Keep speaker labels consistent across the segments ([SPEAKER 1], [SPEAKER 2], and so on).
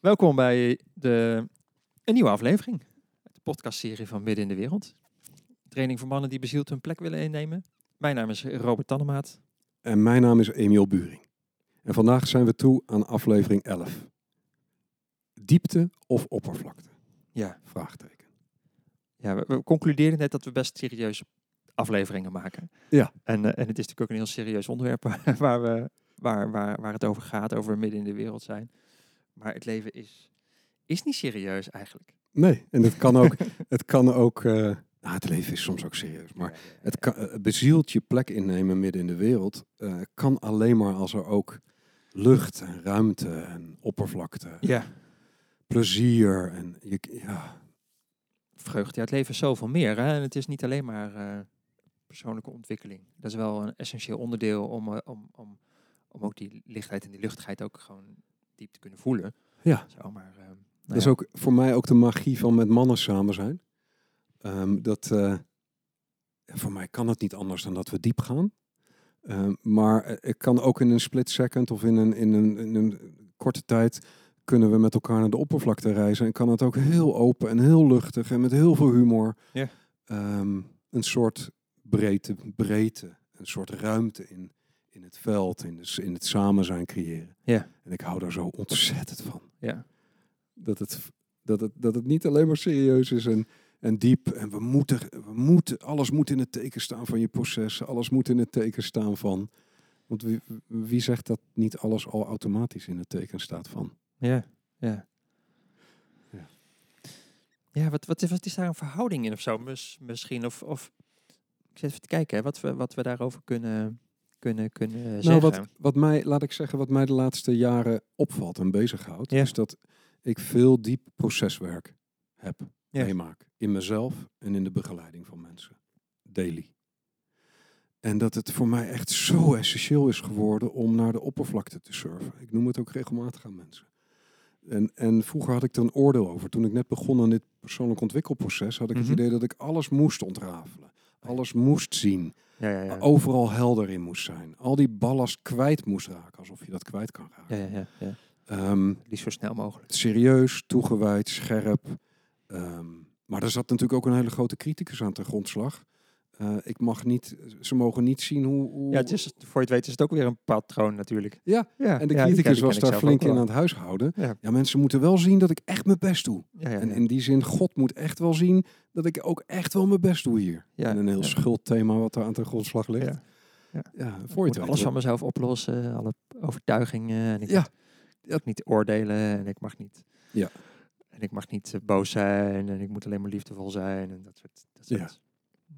[SPEAKER 1] Welkom bij de, een nieuwe aflevering. De podcastserie van Midden in de Wereld. Training voor mannen die bezield hun plek willen innemen. Mijn naam is Robert Tannemaat.
[SPEAKER 2] En mijn naam is Emiel Buring. En vandaag zijn we toe aan aflevering 11. Diepte of oppervlakte?
[SPEAKER 1] Ja,
[SPEAKER 2] Vraagteken.
[SPEAKER 1] ja we, we concludeerden net dat we best serieuze afleveringen maken.
[SPEAKER 2] Ja.
[SPEAKER 1] En, eh, en het is natuurlijk ook een heel serieus onderwerp waar- waar, we, waar, waar, waar het over gaat, over midden in de wereld zijn. Maar het leven is, is niet serieus eigenlijk.
[SPEAKER 2] Nee, en het kan ook... het, kan ook eh, nou, het leven is soms ook serieus. Maar het kan, eh, bezield je plek innemen midden in de wereld... eh, kan alleen maar als er ook lucht en ruimte en oppervlakte...
[SPEAKER 1] Ja,
[SPEAKER 2] plezier en... Je, ja,
[SPEAKER 1] vreugde. Ja, het leven is zoveel meer. Hè? En het is niet alleen maar eh, persoonlijke ontwikkeling. Dat is wel een essentieel onderdeel om, eh, om, om, om ook die lichtheid en die luchtigheid ook gewoon diep te kunnen voelen.
[SPEAKER 2] ja.
[SPEAKER 1] Zo, maar, eh, nou
[SPEAKER 2] Dat is
[SPEAKER 1] ja.
[SPEAKER 2] ook voor mij ook de magie van met mannen samen zijn. Ehm, dat, eh, voor mij kan het niet anders dan dat we diep gaan. Ehm, maar eh, ik kan ook in een split second of in een, in, een, in een korte tijd kunnen we met elkaar naar de oppervlakte reizen. En kan het ook heel open en heel luchtig en met heel veel humor.
[SPEAKER 1] Ja.
[SPEAKER 2] ehm, een soort breedte, breedte, een soort ruimte in, in het veld, in, de, s- in het samen zijn creëren.
[SPEAKER 1] Ja.
[SPEAKER 2] En ik hou daar zo ontzettend van
[SPEAKER 1] Ja.
[SPEAKER 2] dat het, dat het, dat het niet alleen maar serieus is en, en diep. En we moeten, we moeten, alles moet in het teken staan van je processen. Alles moet in het teken staan van. Want wie, wie zegt dat niet alles al automatisch in het teken staat van?
[SPEAKER 1] Ja, ja.
[SPEAKER 2] Ja.
[SPEAKER 1] Ja, wat, wat, is- wat is daar een verhouding in of zo? Mis- misschien, of, of ik zit even te kijken hè, wat, we, wat we daarover kunnen, kunnen, kunnen
[SPEAKER 2] Nou,
[SPEAKER 1] eh, zeggen.
[SPEAKER 2] wat, wat mij, laat ik zeggen, wat mij de laatste jaren opvalt en bezighoudt,
[SPEAKER 1] Ja.
[SPEAKER 2] is dat ik veel diep proceswerk heb,
[SPEAKER 1] Ja.
[SPEAKER 2] meemaak. In mezelf en in de begeleiding van mensen. Daily. En dat het voor mij echt zo essentieel is geworden om naar de oppervlakte te surfen. Ik noem het ook regelmatig aan mensen. En, en vroeger had ik er een oordeel over. Toen ik net begon aan dit persoonlijk ontwikkelproces, had ik
[SPEAKER 1] Mhm.
[SPEAKER 2] het idee dat ik alles moest ontrafelen. Alles moest zien
[SPEAKER 1] ja, ja,
[SPEAKER 2] Oh.
[SPEAKER 1] ja.
[SPEAKER 2] overal helder in moest zijn. Al die ballast kwijt moest raken, alsof je dat kwijt kan raken.
[SPEAKER 1] ja, ja, ja, ja.
[SPEAKER 2] Ehm,
[SPEAKER 1] Het liefst zo snel mogelijk.
[SPEAKER 2] serieus, toegewijd, scherp. Ehm, maar er zat natuurlijk ook een hele grote criticus aan ten grondslag. Eh, ik mag niet, ze mogen niet zien hoe... hoe
[SPEAKER 1] Ja, het is, voor je het weet is het ook weer een patroon natuurlijk.
[SPEAKER 2] Ja,
[SPEAKER 1] ja
[SPEAKER 2] en de
[SPEAKER 1] ja, die ken-
[SPEAKER 2] criticus
[SPEAKER 1] die
[SPEAKER 2] was
[SPEAKER 1] ken ik
[SPEAKER 2] daar
[SPEAKER 1] zelf ook
[SPEAKER 2] flink in
[SPEAKER 1] wel.
[SPEAKER 2] aan het huishouden.
[SPEAKER 1] Ja.
[SPEAKER 2] Ja. mensen moeten wel zien dat ik echt mijn best doe.
[SPEAKER 1] Ja, ja,
[SPEAKER 2] En
[SPEAKER 1] ja.
[SPEAKER 2] in die zin, God moet echt wel zien dat ik ook echt wel mijn best doe hier.
[SPEAKER 1] Ja,
[SPEAKER 2] en een heel
[SPEAKER 1] ja.
[SPEAKER 2] schuldthema wat daar aan ten grondslag ligt.
[SPEAKER 1] Ja.
[SPEAKER 2] Ja.
[SPEAKER 1] Ja.
[SPEAKER 2] voor je
[SPEAKER 1] moet
[SPEAKER 2] het
[SPEAKER 1] alles
[SPEAKER 2] weet
[SPEAKER 1] van mezelf oplossen, alle overtuigingen. En ik
[SPEAKER 2] Ja.
[SPEAKER 1] moet- ik mag niet oordelen en ik mag niet.
[SPEAKER 2] Ja.
[SPEAKER 1] En ik mag niet eh, boos zijn en ik moet alleen maar liefdevol zijn en dat soort, dat
[SPEAKER 2] Ja.
[SPEAKER 1] soort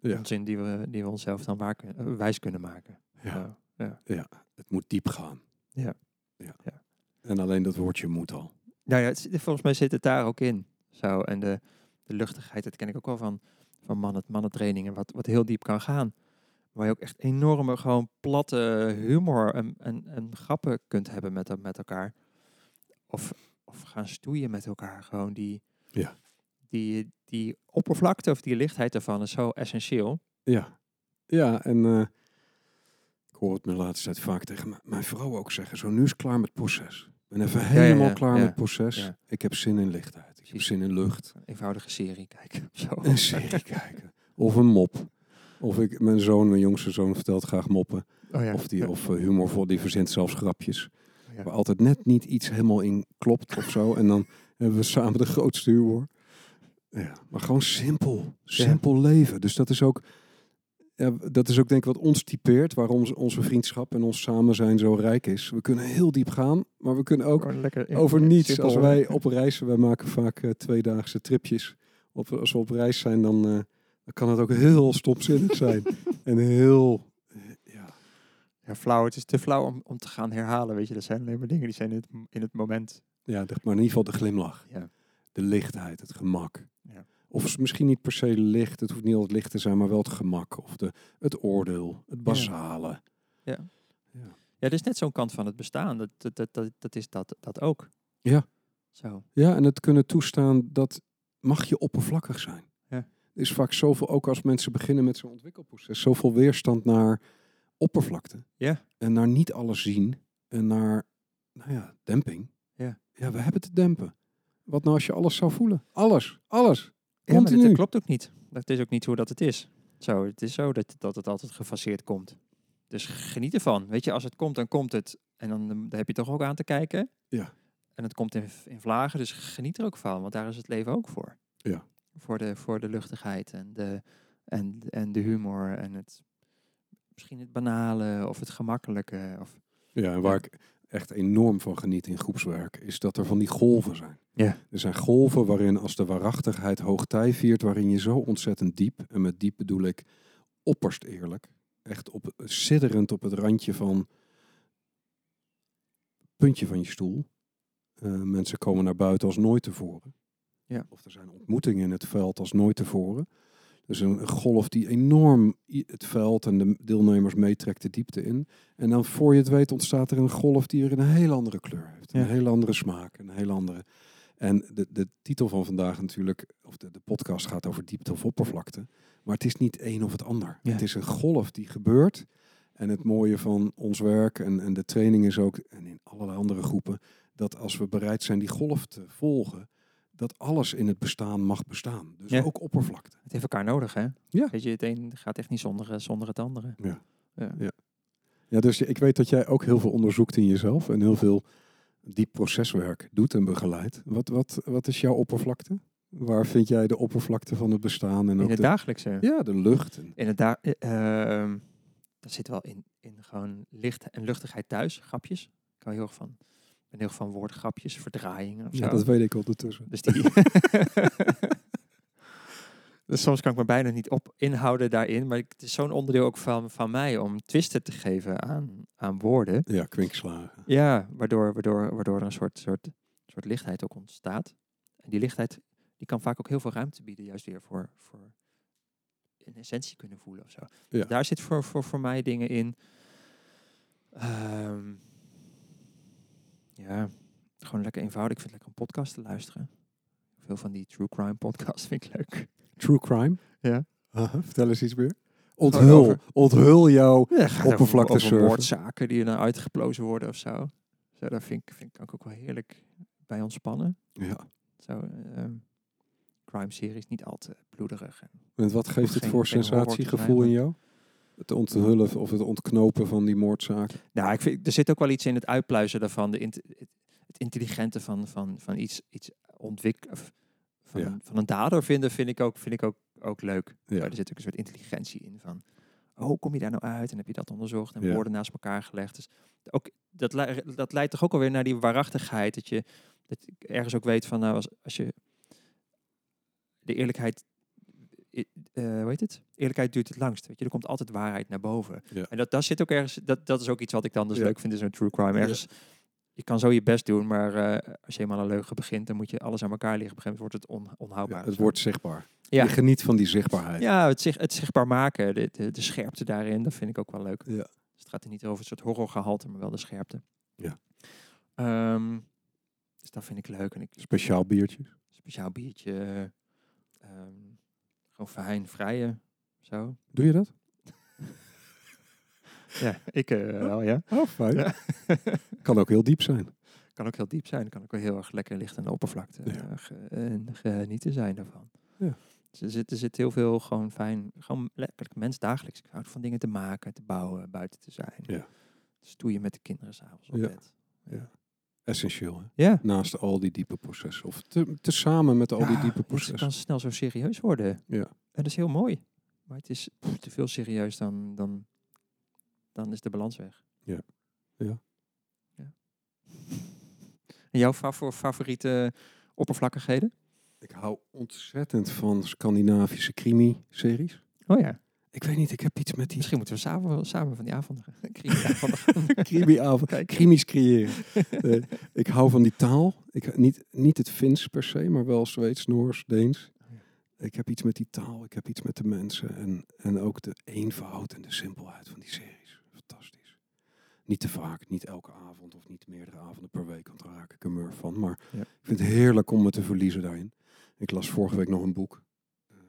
[SPEAKER 2] Ja.
[SPEAKER 1] onzin die we, die we onszelf dan waar kun- eh, wijs kunnen maken.
[SPEAKER 2] Ja.
[SPEAKER 1] Nou, ja.
[SPEAKER 2] het moet diep gaan.
[SPEAKER 1] Ja.
[SPEAKER 2] ja.
[SPEAKER 1] Ja.
[SPEAKER 2] En alleen dat woordje moet al.
[SPEAKER 1] Nou ja, het zit- volgens mij zit het daar ook in. Zo, en de, de luchtigheid, dat ken ik ook wel van, van mannen, mannentrainingen, wat, wat heel diep kan gaan. Waar je ook echt enorme, gewoon platte humor en, en, en grappen kunt hebben met, met elkaar. Of, of gaan stoeien met elkaar. Gewoon die,
[SPEAKER 2] Ja.
[SPEAKER 1] die, die oppervlakte of die lichtheid daarvan is zo essentieel.
[SPEAKER 2] Ja. Ja, en eh, ik hoor het me de laatste tijd vaak tegen m- mijn vrouw ook zeggen. Zo, nu is het klaar met het proces. Ik ben even
[SPEAKER 1] ja,
[SPEAKER 2] helemaal
[SPEAKER 1] ja,
[SPEAKER 2] klaar
[SPEAKER 1] ja.
[SPEAKER 2] met het proces.
[SPEAKER 1] Ja.
[SPEAKER 2] Ik heb zin in lichtheid. Ik heb
[SPEAKER 1] Precies.
[SPEAKER 2] zin in lucht.
[SPEAKER 1] Een eenvoudige serie kijken. of Zo.
[SPEAKER 2] Een serie kijken. Of een mop. Of ik, mijn zoon, mijn jongste zoon, vertelt graag moppen.
[SPEAKER 1] Oh ja.
[SPEAKER 2] Of, die, of eh, humorvol, die verzint zelfs grapjes.
[SPEAKER 1] Ja.
[SPEAKER 2] Waar altijd net niet iets helemaal in klopt of zo. En dan hebben we samen de grootste humor. Ja, maar gewoon simpel. Simpel leven. Dus dat is ook... Ja, dat is ook denk ik wat ons typeert, waarom z- onze vriendschap en ons samen zijn zo rijk is. We kunnen heel diep gaan, maar we kunnen ook
[SPEAKER 1] Gewoon lekker in-
[SPEAKER 2] over niets.
[SPEAKER 1] simpel,
[SPEAKER 2] als
[SPEAKER 1] hè?
[SPEAKER 2] wij op reis, wij maken vaak eh, tweedaagse tripjes. Op, als we op reis zijn, dan, eh, dan kan het ook heel stomzinnig zijn. en heel, eh, ja,
[SPEAKER 1] Ja, flauw. Het is te flauw om, om te gaan herhalen, weet je. Dat zijn alleen maar dingen die zijn in het, in het moment.
[SPEAKER 2] ja, de- maar in ieder geval de glimlach.
[SPEAKER 1] Ja.
[SPEAKER 2] De lichtheid, het gemak.
[SPEAKER 1] Ja.
[SPEAKER 2] Of s- misschien niet per se licht, het hoeft niet altijd licht te zijn, maar wel het gemak. Of de, het oordeel, het basale.
[SPEAKER 1] Ja, dat is net zo'n kant van het bestaan. Dat, dat, dat, dat, dat is dat, dat ook.
[SPEAKER 2] Ja.
[SPEAKER 1] Zo.
[SPEAKER 2] Ja, en het kunnen toestaan, dat mag je oppervlakkig zijn.
[SPEAKER 1] Ja.
[SPEAKER 2] Er is vaak zoveel, ook als mensen beginnen met zo'n ontwikkelproces, zoveel weerstand naar oppervlakte.
[SPEAKER 1] Ja.
[SPEAKER 2] En naar niet alles zien en naar, nou ja, demping.
[SPEAKER 1] Ja.
[SPEAKER 2] ja, we hebben te dempen. Wat nou als je alles zou voelen? Alles, alles.
[SPEAKER 1] Ja, maar dat, dat
[SPEAKER 2] Continu.
[SPEAKER 1] klopt ook niet. Dat is ook niet hoe dat het is. Zo, het is zo dat, dat het altijd gefaseerd komt. Dus geniet ervan. Weet je, als het komt, dan komt het. En dan, dan heb je toch ook aan te kijken.
[SPEAKER 2] Ja.
[SPEAKER 1] En het komt in, in vlagen, dus geniet er ook van. Want daar is het leven ook voor.
[SPEAKER 2] Ja.
[SPEAKER 1] Voor de, voor de luchtigheid en de, en, en de humor en het... Misschien het banale of het gemakkelijke. Of,
[SPEAKER 2] Ja, en waar ik echt enorm van geniet in groepswerk, is dat er van die golven zijn.
[SPEAKER 1] Ja.
[SPEAKER 2] Er zijn golven waarin als de waarachtigheid hoogtij viert, waarin je zo ontzettend diep, en met diep bedoel ik opperst eerlijk, echt op, sidderend op het randje van puntje van je stoel. Eh, mensen komen naar buiten als nooit tevoren.
[SPEAKER 1] Ja.
[SPEAKER 2] Of er zijn ontmoetingen in het veld als nooit tevoren. Dus een, een golf die enorm i- het veld en de deelnemers meetrekt de diepte in. En dan voor je het weet ontstaat er een golf die weer een heel andere kleur heeft.
[SPEAKER 1] Ja.
[SPEAKER 2] Een heel andere smaak, een heel andere... En de, de titel van vandaag natuurlijk, of de, de podcast gaat over diepte of oppervlakte. Maar het is niet één of het ander.
[SPEAKER 1] Ja.
[SPEAKER 2] Het is een golf die gebeurt. En het mooie van ons werk en, en de training is ook, en in allerlei andere groepen, dat als we bereid zijn die golf te volgen, dat alles in het bestaan mag bestaan. Dus
[SPEAKER 1] Ja.
[SPEAKER 2] ook oppervlakte.
[SPEAKER 1] het heeft elkaar nodig, hè?
[SPEAKER 2] Ja.
[SPEAKER 1] Weet je, het een gaat echt niet zonder, zonder het andere.
[SPEAKER 2] Ja.
[SPEAKER 1] Ja.
[SPEAKER 2] Ja, dus je- ik weet dat jij ook heel veel onderzoekt in jezelf en heel veel diep proceswerk doet en begeleidt. Wat, wat, wat is jouw oppervlakte? Waar vind jij de oppervlakte van het bestaan en
[SPEAKER 1] In
[SPEAKER 2] ook
[SPEAKER 1] het
[SPEAKER 2] de,
[SPEAKER 1] dagelijkse.
[SPEAKER 2] ja, de lucht? En,
[SPEAKER 1] Inderdaad, eh, ehm dat zit wel in, in gewoon licht en luchtigheid thuis, grapjes. Ik hou heel erg van, ik ben heel erg van woordgrapjes, verdraaiingen of zo.
[SPEAKER 2] ja, dat weet ik ondertussen.
[SPEAKER 1] Dus die... dus soms kan ik me bijna niet op inhouden daarin, maar ik, het is zo'n onderdeel ook van, van mij om twisten te geven aan, aan woorden.
[SPEAKER 2] Ja, kwinkslagen.
[SPEAKER 1] Ja, waardoor, waardoor, waardoor er een soort, soort, soort lichtheid ook ontstaat. En die lichtheid die kan vaak ook heel veel ruimte bieden, juist weer voor, voor een essentie kunnen voelen of zo.
[SPEAKER 2] Ja.
[SPEAKER 1] Daar zit voor, voor, voor mij dingen in. Ehm, ja, gewoon lekker eenvoudig. Ik vind het lekker een podcast te luisteren. Veel van die true crime podcasts vind ik leuk.
[SPEAKER 2] True crime?
[SPEAKER 1] Ja.
[SPEAKER 2] Aha, vertel eens iets meer.
[SPEAKER 1] Gewoon
[SPEAKER 2] Onthul,
[SPEAKER 1] over-
[SPEAKER 2] onthul jou.
[SPEAKER 1] Ja, gaat over-
[SPEAKER 2] oppervlakte
[SPEAKER 1] over
[SPEAKER 2] surfen.
[SPEAKER 1] moordzaken die dan uitgeplozen worden of zo. zo daar vind ik, vind ik kan ik ook wel heerlijk bij ontspannen.
[SPEAKER 2] Ja.
[SPEAKER 1] Zo, ehm, crime series niet al te bloederig. En
[SPEAKER 2] En wat geeft het
[SPEAKER 1] Geen-
[SPEAKER 2] voor
[SPEAKER 1] geen horror te zijn,
[SPEAKER 2] sensatiegevoel
[SPEAKER 1] maar-
[SPEAKER 2] in jou? Het onthullen of het ontknopen van die moordzaken?
[SPEAKER 1] Nou, ik vind, er zit ook wel iets in het uitpluizen daarvan, de int- het- het intelligente van, van, van iets, iets ontwikkelen. Van,
[SPEAKER 2] Ja.
[SPEAKER 1] een- van een dader vinden vind ik ook, vind ik ook, ook leuk.
[SPEAKER 2] Ja.
[SPEAKER 1] Maar er zit ook een soort intelligentie in van, oh, hoe kom je daar nou uit? En heb je dat onderzocht en
[SPEAKER 2] Ja.
[SPEAKER 1] woorden naast elkaar gelegd? Dus ook, dat, lei- dat leidt toch ook alweer naar die waarachtigheid. Dat je dat ik ergens ook weet van, nou, als, als je de eerlijkheid, i- eh, hoe heet het? Eerlijkheid duurt het langst. Weet je, er komt altijd waarheid naar boven.
[SPEAKER 2] Ja.
[SPEAKER 1] En dat, dat zit ook ergens, dat, dat is ook iets wat ik dan dus
[SPEAKER 2] Ja.
[SPEAKER 1] leuk vind, is een true crime. Ergens, je kan zo je best doen, maar eh, als je eenmaal een leugen begint, dan moet je alles aan elkaar liggen. Op een gegeven moment wordt het on- onhoudbaar.
[SPEAKER 2] Ja,
[SPEAKER 1] of
[SPEAKER 2] het
[SPEAKER 1] zo.
[SPEAKER 2] wordt zichtbaar.
[SPEAKER 1] Ja.
[SPEAKER 2] Je geniet van die zichtbaarheid.
[SPEAKER 1] Ja, het, zich, het zichtbaar maken, de, de, de scherpte daarin, dat vind ik ook wel leuk.
[SPEAKER 2] Ja.
[SPEAKER 1] Dus het gaat er niet over een soort horrorgehalte, maar wel de scherpte.
[SPEAKER 2] Ja.
[SPEAKER 1] Ehm, dus dat vind ik leuk. En ik
[SPEAKER 2] Speciaal biertjes.
[SPEAKER 1] speciaal biertje, ehm, gewoon fijn, vrije, zo.
[SPEAKER 2] Doe je dat?
[SPEAKER 1] Ja, ik eh, wel, ja.
[SPEAKER 2] Oh, fijn.
[SPEAKER 1] Ja.
[SPEAKER 2] Kan ook heel diep zijn.
[SPEAKER 1] Kan ook heel diep zijn, kan ook wel heel erg lekker licht aan de oppervlakte
[SPEAKER 2] Ja.
[SPEAKER 1] eh, ge- en genieten zijn daarvan.
[SPEAKER 2] Ja.
[SPEAKER 1] Dus er zit, er zit heel veel gewoon fijn, gewoon lekker mens dagelijks. Ik hou van dingen te maken, te bouwen, buiten te zijn.
[SPEAKER 2] Ja.
[SPEAKER 1] Stoeien met de kinderen s'avonds op
[SPEAKER 2] Ja.
[SPEAKER 1] bed.
[SPEAKER 2] Essentieel, hè?
[SPEAKER 1] Ja.
[SPEAKER 2] Naast al die diepe processen. Of te, samen met al die
[SPEAKER 1] Ja, dus
[SPEAKER 2] diepe
[SPEAKER 1] het
[SPEAKER 2] processen.
[SPEAKER 1] kan snel zo serieus worden.
[SPEAKER 2] Ja.
[SPEAKER 1] En dat is heel mooi. Maar het is pff, te veel serieus, dan, dan, dan is de balans weg.
[SPEAKER 2] Ja. Ja.
[SPEAKER 1] Ja. En jouw favo- favoriete oppervlakkigheden?
[SPEAKER 2] Ik hou ontzettend van Scandinavische crimi-series.
[SPEAKER 1] Oh ja.
[SPEAKER 2] Ik weet niet, ik heb iets met die
[SPEAKER 1] Misschien moeten we samen, samen van die avond criminelen gaan
[SPEAKER 2] crimi-avond.
[SPEAKER 1] kijken.
[SPEAKER 2] Crimies creëren. Nee, ik hou van die taal. Ik, niet, niet het Fins per se, maar wel Zweeds, Noors, Deens. Ik heb iets met die taal. Ik heb iets met de mensen. En, en ook de eenvoud en de simpelheid van die series. Fantastisch. Niet te vaak, niet elke avond of niet meerdere avonden per week, want daar raak ik een mur van. Maar
[SPEAKER 1] Ja.
[SPEAKER 2] ik vind het heerlijk om me te verliezen daarin. Ik las vorige week nog een boek, ehm,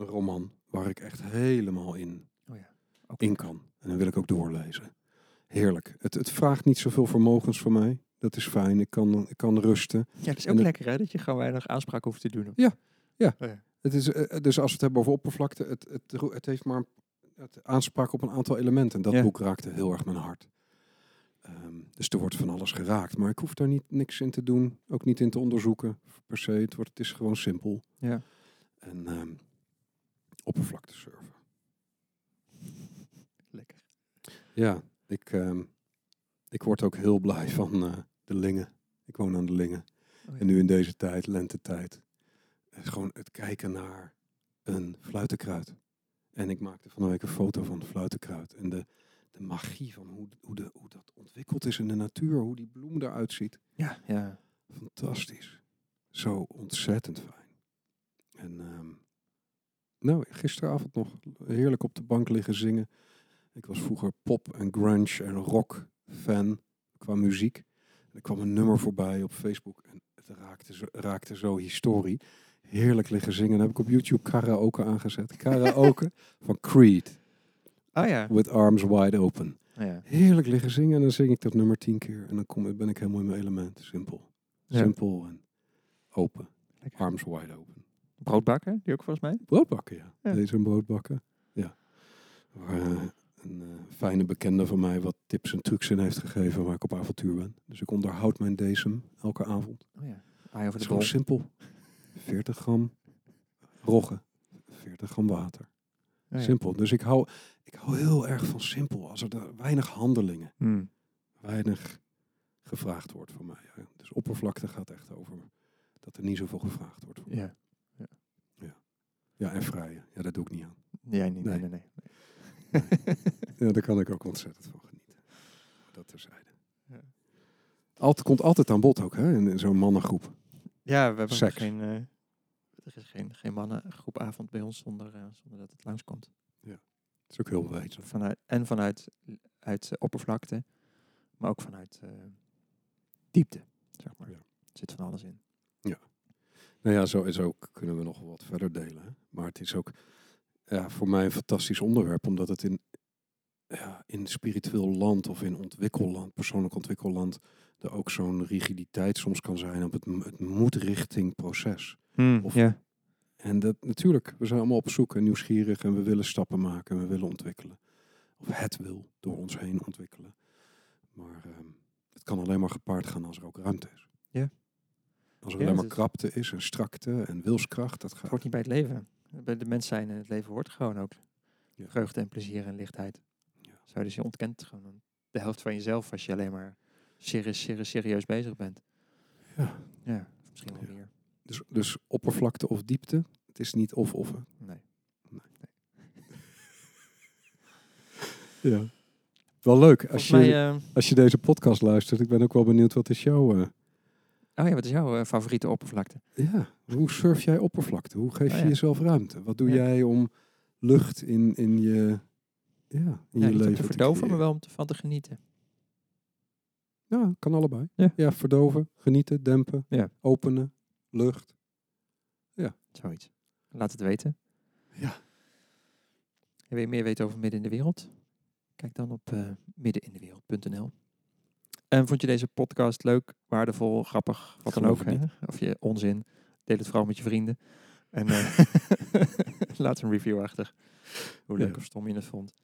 [SPEAKER 2] een roman, waar ik echt helemaal in
[SPEAKER 1] Oh ja. Oké.
[SPEAKER 2] in kan. En dan wil ik ook doorlezen. Heerlijk. Het, het vraagt niet zoveel vermogens van mij. Dat is fijn. Ik kan, ik kan rusten.
[SPEAKER 1] Ja, dat is
[SPEAKER 2] En
[SPEAKER 1] ook
[SPEAKER 2] het-
[SPEAKER 1] lekker hè, dat je gewoon weinig aanspraak hoeft te doen. op-
[SPEAKER 2] Het is, eh, dus als we het hebben over oppervlakte, het, het, ro- het heeft maar het aanspraak op een aantal elementen. En dat
[SPEAKER 1] Ja.
[SPEAKER 2] boek raakte heel erg mijn hart. Ehm, dus er wordt van alles geraakt. Maar ik hoef daar niet niks in te doen. Ook niet in te onderzoeken per se. Het, wordt, het is gewoon simpel.
[SPEAKER 1] Ja.
[SPEAKER 2] En ehm oppervlakte surfen.
[SPEAKER 1] Lekker.
[SPEAKER 2] Ja, ik, ehm, ik word ook heel blij van eh, de Lingen. Ik woon aan de Lingen.
[SPEAKER 1] Oh ja.
[SPEAKER 2] En nu in deze tijd, lentetijd, is gewoon het kijken naar een fluitenkruid. En ik maakte van de week een foto van het fluitenkruid. En de, de magie van hoe, hoe, de, hoe dat ontwikkeld is in de natuur, hoe die bloem eruit ziet.
[SPEAKER 1] Ja, ja.
[SPEAKER 2] Fantastisch. Zo ontzettend fijn. En ehm, nou, gisteravond nog heerlijk op de bank liggen zingen. Ik was vroeger pop en grunge en rock fan qua muziek. En er kwam een nummer voorbij op Facebook en het raakte zo, raakte zo historie. Heerlijk liggen zingen. Dan heb ik op YouTube karaoke aangezet. Karaoke van Creed,
[SPEAKER 1] Oh ja.
[SPEAKER 2] With Arms Wide Open.
[SPEAKER 1] Oh ja.
[SPEAKER 2] Heerlijk liggen zingen en dan zing ik dat nummer tien keer. En dan kom, ben ik helemaal in mijn element. Simpel.
[SPEAKER 1] Ja.
[SPEAKER 2] Simpel en open.
[SPEAKER 1] Lekker.
[SPEAKER 2] Arms wide open.
[SPEAKER 1] Broodbakker, die ook volgens mij.
[SPEAKER 2] Broodbakken, ja.
[SPEAKER 1] Ja.
[SPEAKER 2] Deze en broodbakken. Ja. Waar eh, een eh, fijne bekende van mij wat tips en trucs in heeft gegeven waar ik op avontuur ben. Dus ik onderhoud mijn decem elke avond.
[SPEAKER 1] Oh ja. Eye over
[SPEAKER 2] Het
[SPEAKER 1] de bol.
[SPEAKER 2] is gewoon simpel. 40 gram rogge. 40 gram water.
[SPEAKER 1] Oh ja.
[SPEAKER 2] Simpel. Dus ik hou, ik hou heel erg van simpel. Als er daar weinig handelingen
[SPEAKER 1] Hmm.
[SPEAKER 2] weinig gevraagd wordt voor mij. Ja. Dus oppervlakte gaat echt over dat er niet zoveel gevraagd wordt. Voor mij.
[SPEAKER 1] Ja.
[SPEAKER 2] Ja, en vrije. Ja, dat doe ik niet aan.
[SPEAKER 1] Jij niet. Nee, nee,
[SPEAKER 2] Nee.
[SPEAKER 1] nee.
[SPEAKER 2] Ja, daar kan ik ook ontzettend van genieten. Maar Dat terzijde.
[SPEAKER 1] Ja.
[SPEAKER 2] Alt, komt altijd aan bod ook, hè, in, in zo'n mannengroep.
[SPEAKER 1] Ja, we hebben
[SPEAKER 2] Seks.
[SPEAKER 1] geen, eh, er is geen, geen mannengroepavond bij ons zonder, eh, zonder dat het langskomt.
[SPEAKER 2] Dat is ook heel wijd.
[SPEAKER 1] Vanuit, en vanuit uit, eh, oppervlakte, maar ook vanuit eh, diepte, zeg maar.
[SPEAKER 2] Ja.
[SPEAKER 1] Er zit van alles in.
[SPEAKER 2] Nou ja, zo, en zo k- kunnen we nog wel wat verder delen. hè. Maar het is ook ja, voor mij een fantastisch onderwerp, omdat het in, ja, in spiritueel land of in ontwikkelland, persoonlijk ontwikkelland, er ook zo'n rigiditeit soms kan zijn op het, m- het moet richting proces. Of-
[SPEAKER 1] ja.
[SPEAKER 2] En dat natuurlijk, we zijn allemaal op zoek en nieuwsgierig en we willen stappen maken en we willen ontwikkelen. Of het wil door ons heen ontwikkelen. Maar ehm, het kan alleen maar gepaard gaan als er ook ruimte is.
[SPEAKER 1] Ja.
[SPEAKER 2] Als er
[SPEAKER 1] Ja,
[SPEAKER 2] alleen
[SPEAKER 1] het
[SPEAKER 2] maar
[SPEAKER 1] is-
[SPEAKER 2] krapte is en strakte en wilskracht, dat
[SPEAKER 1] Het
[SPEAKER 2] gaat.
[SPEAKER 1] hoort niet bij het leven. Bij de mens zijn en het leven hoort gewoon ook
[SPEAKER 2] Ja.
[SPEAKER 1] vreugde en plezier en lichtheid.
[SPEAKER 2] Ja.
[SPEAKER 1] Zo, dus je ontkent gewoon de helft van jezelf als je alleen maar serieus, serieus, serieus bezig bent.
[SPEAKER 2] Ja.
[SPEAKER 1] Ja, misschien wel
[SPEAKER 2] Ja.
[SPEAKER 1] meer.
[SPEAKER 2] Dus, dus oppervlakte of diepte, het is niet of-of. hè.
[SPEAKER 1] Nee.
[SPEAKER 2] Ja. Wel leuk als
[SPEAKER 1] Volgens
[SPEAKER 2] je,
[SPEAKER 1] mij, eh,
[SPEAKER 2] als je deze podcast luistert. Ik ben ook wel benieuwd wat is jouw. eh,
[SPEAKER 1] oh ja, wat is jouw eh, favoriete oppervlakte?
[SPEAKER 2] ja, hoe surf jij oppervlakte? Hoe geef
[SPEAKER 1] Oh
[SPEAKER 2] je
[SPEAKER 1] ja.
[SPEAKER 2] jezelf ruimte? Wat doe
[SPEAKER 1] Ja.
[SPEAKER 2] jij om lucht in, in je, ja, in
[SPEAKER 1] Ja,
[SPEAKER 2] je
[SPEAKER 1] niet om
[SPEAKER 2] leven
[SPEAKER 1] te
[SPEAKER 2] te
[SPEAKER 1] verdoven, maar
[SPEAKER 2] creëren?
[SPEAKER 1] wel om te- van te genieten.
[SPEAKER 2] Ja, kan allebei.
[SPEAKER 1] Ja.
[SPEAKER 2] Ja. verdoven, genieten, dempen,
[SPEAKER 1] Ja.
[SPEAKER 2] openen, lucht.
[SPEAKER 1] Zoiets. Laat het weten.
[SPEAKER 2] Ja.
[SPEAKER 1] En wil je meer weten over Midden in de Wereld? Kijk dan op eh, middenindewereld.nl. En vond je deze podcast leuk, waardevol, grappig, wat dan
[SPEAKER 2] Geloof
[SPEAKER 1] ook?
[SPEAKER 2] het
[SPEAKER 1] Hè? Of je onzin? Deel het vooral met je vrienden. En eh, laat een review achter. Hoe leuk
[SPEAKER 2] Ja.
[SPEAKER 1] of stom je het vond.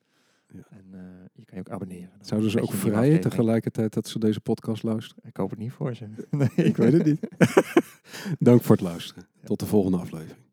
[SPEAKER 2] Ja.
[SPEAKER 1] En eh, je kan je ook abonneren. Dan
[SPEAKER 2] Zouden ze
[SPEAKER 1] weet
[SPEAKER 2] ook
[SPEAKER 1] je een nieuwe
[SPEAKER 2] vrijen
[SPEAKER 1] aflevering.
[SPEAKER 2] tegelijkertijd dat ze deze podcast luisteren?
[SPEAKER 1] Ik hoop het niet voor ze. Nee.
[SPEAKER 2] Ik weet het niet. Dank voor het luisteren. Tot de volgende aflevering.